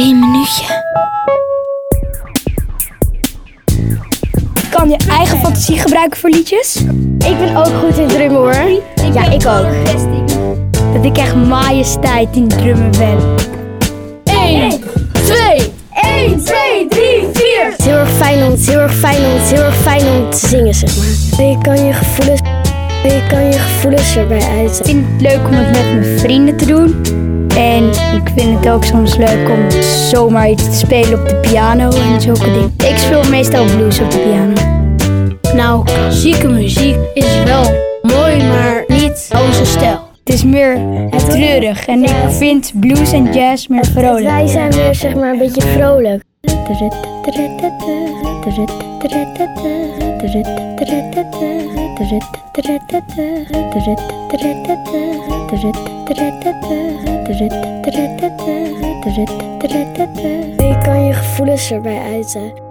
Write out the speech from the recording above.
minuutje. Je kan je eigen fantasie gebruiken voor liedjes. Ik ben ook goed in drummen hoor. Ja, ik ook. Dat ik echt majesteit in drummen ben. 1, 2, 1, 2, 3, 4. Het is heel erg fijn om, het is heel erg fijn om, het is heel erg fijn om te zingen, zeg maar. Je kan je gevoelens, je kan je gevoelens erbij Ik uiten. vind het leuk om het met mijn vrienden te doen. En ik vind het ook soms leuk om zomaar iets te spelen op de piano en zulke dingen. Ik speel meestal blues op de piano. Nou, klassieke muziek is wel mooi, maar niet onze stijl. Het is meer treurig en ik vind blues en jazz meer vrolijk. Wij zijn weer zeg maar een beetje vrolijk. Je kan je gevoelens erbij uiten.